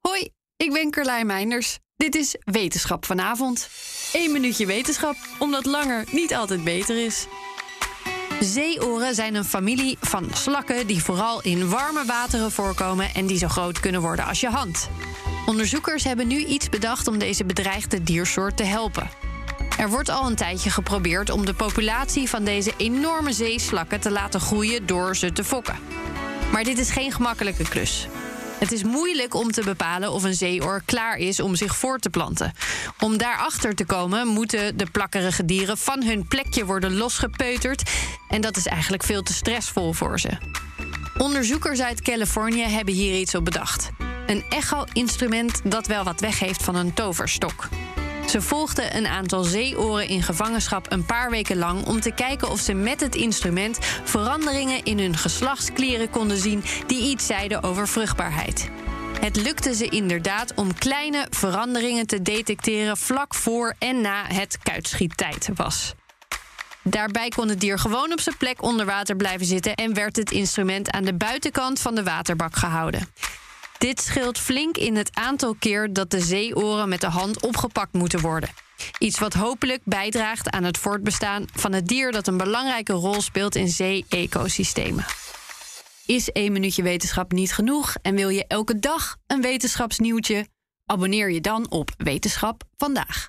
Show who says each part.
Speaker 1: Hoi, ik ben Carlijn Meinders. Dit is Wetenschap vanavond. Eén minuutje wetenschap, omdat langer niet altijd beter is. Zeeoren zijn een familie van slakken die vooral in warme wateren voorkomen en die zo groot kunnen worden als je hand. Onderzoekers hebben nu iets bedacht om deze bedreigde diersoort te helpen. Er wordt al een tijdje geprobeerd om de populatie van deze enorme zeeslakken te laten groeien door ze te fokken. Maar dit is geen gemakkelijke klus. Het is moeilijk om te bepalen of een zeeoor klaar is om zich voor te planten. Om daarachter te komen moeten de plakkerige dieren van hun plekje worden losgepeuterd. En dat is eigenlijk veel te stressvol voor ze. Onderzoekers uit Californië hebben hier iets op bedacht. Een echo-instrument dat wel wat weggeeft van een toverstok. Ze volgden een aantal zeeoren in gevangenschap een paar weken lang om te kijken of ze met het instrument veranderingen in hun geslachtsklieren konden zien die iets zeiden over vruchtbaarheid. Het lukte ze inderdaad om kleine veranderingen te detecteren vlak voor en na het kuitschiettijd was. Daarbij kon het dier gewoon op zijn plek onder water blijven zitten en werd het instrument aan de buitenkant van de waterbak gehouden. Dit scheelt flink in het aantal keer dat de zeeoren met de hand opgepakt moeten worden. Iets wat hopelijk bijdraagt aan het voortbestaan van het dier dat een belangrijke rol speelt in zee-ecosystemen. Is één minuutje wetenschap niet genoeg en wil je elke dag een wetenschapsnieuwtje? Abonneer je dan op Wetenschap vandaag.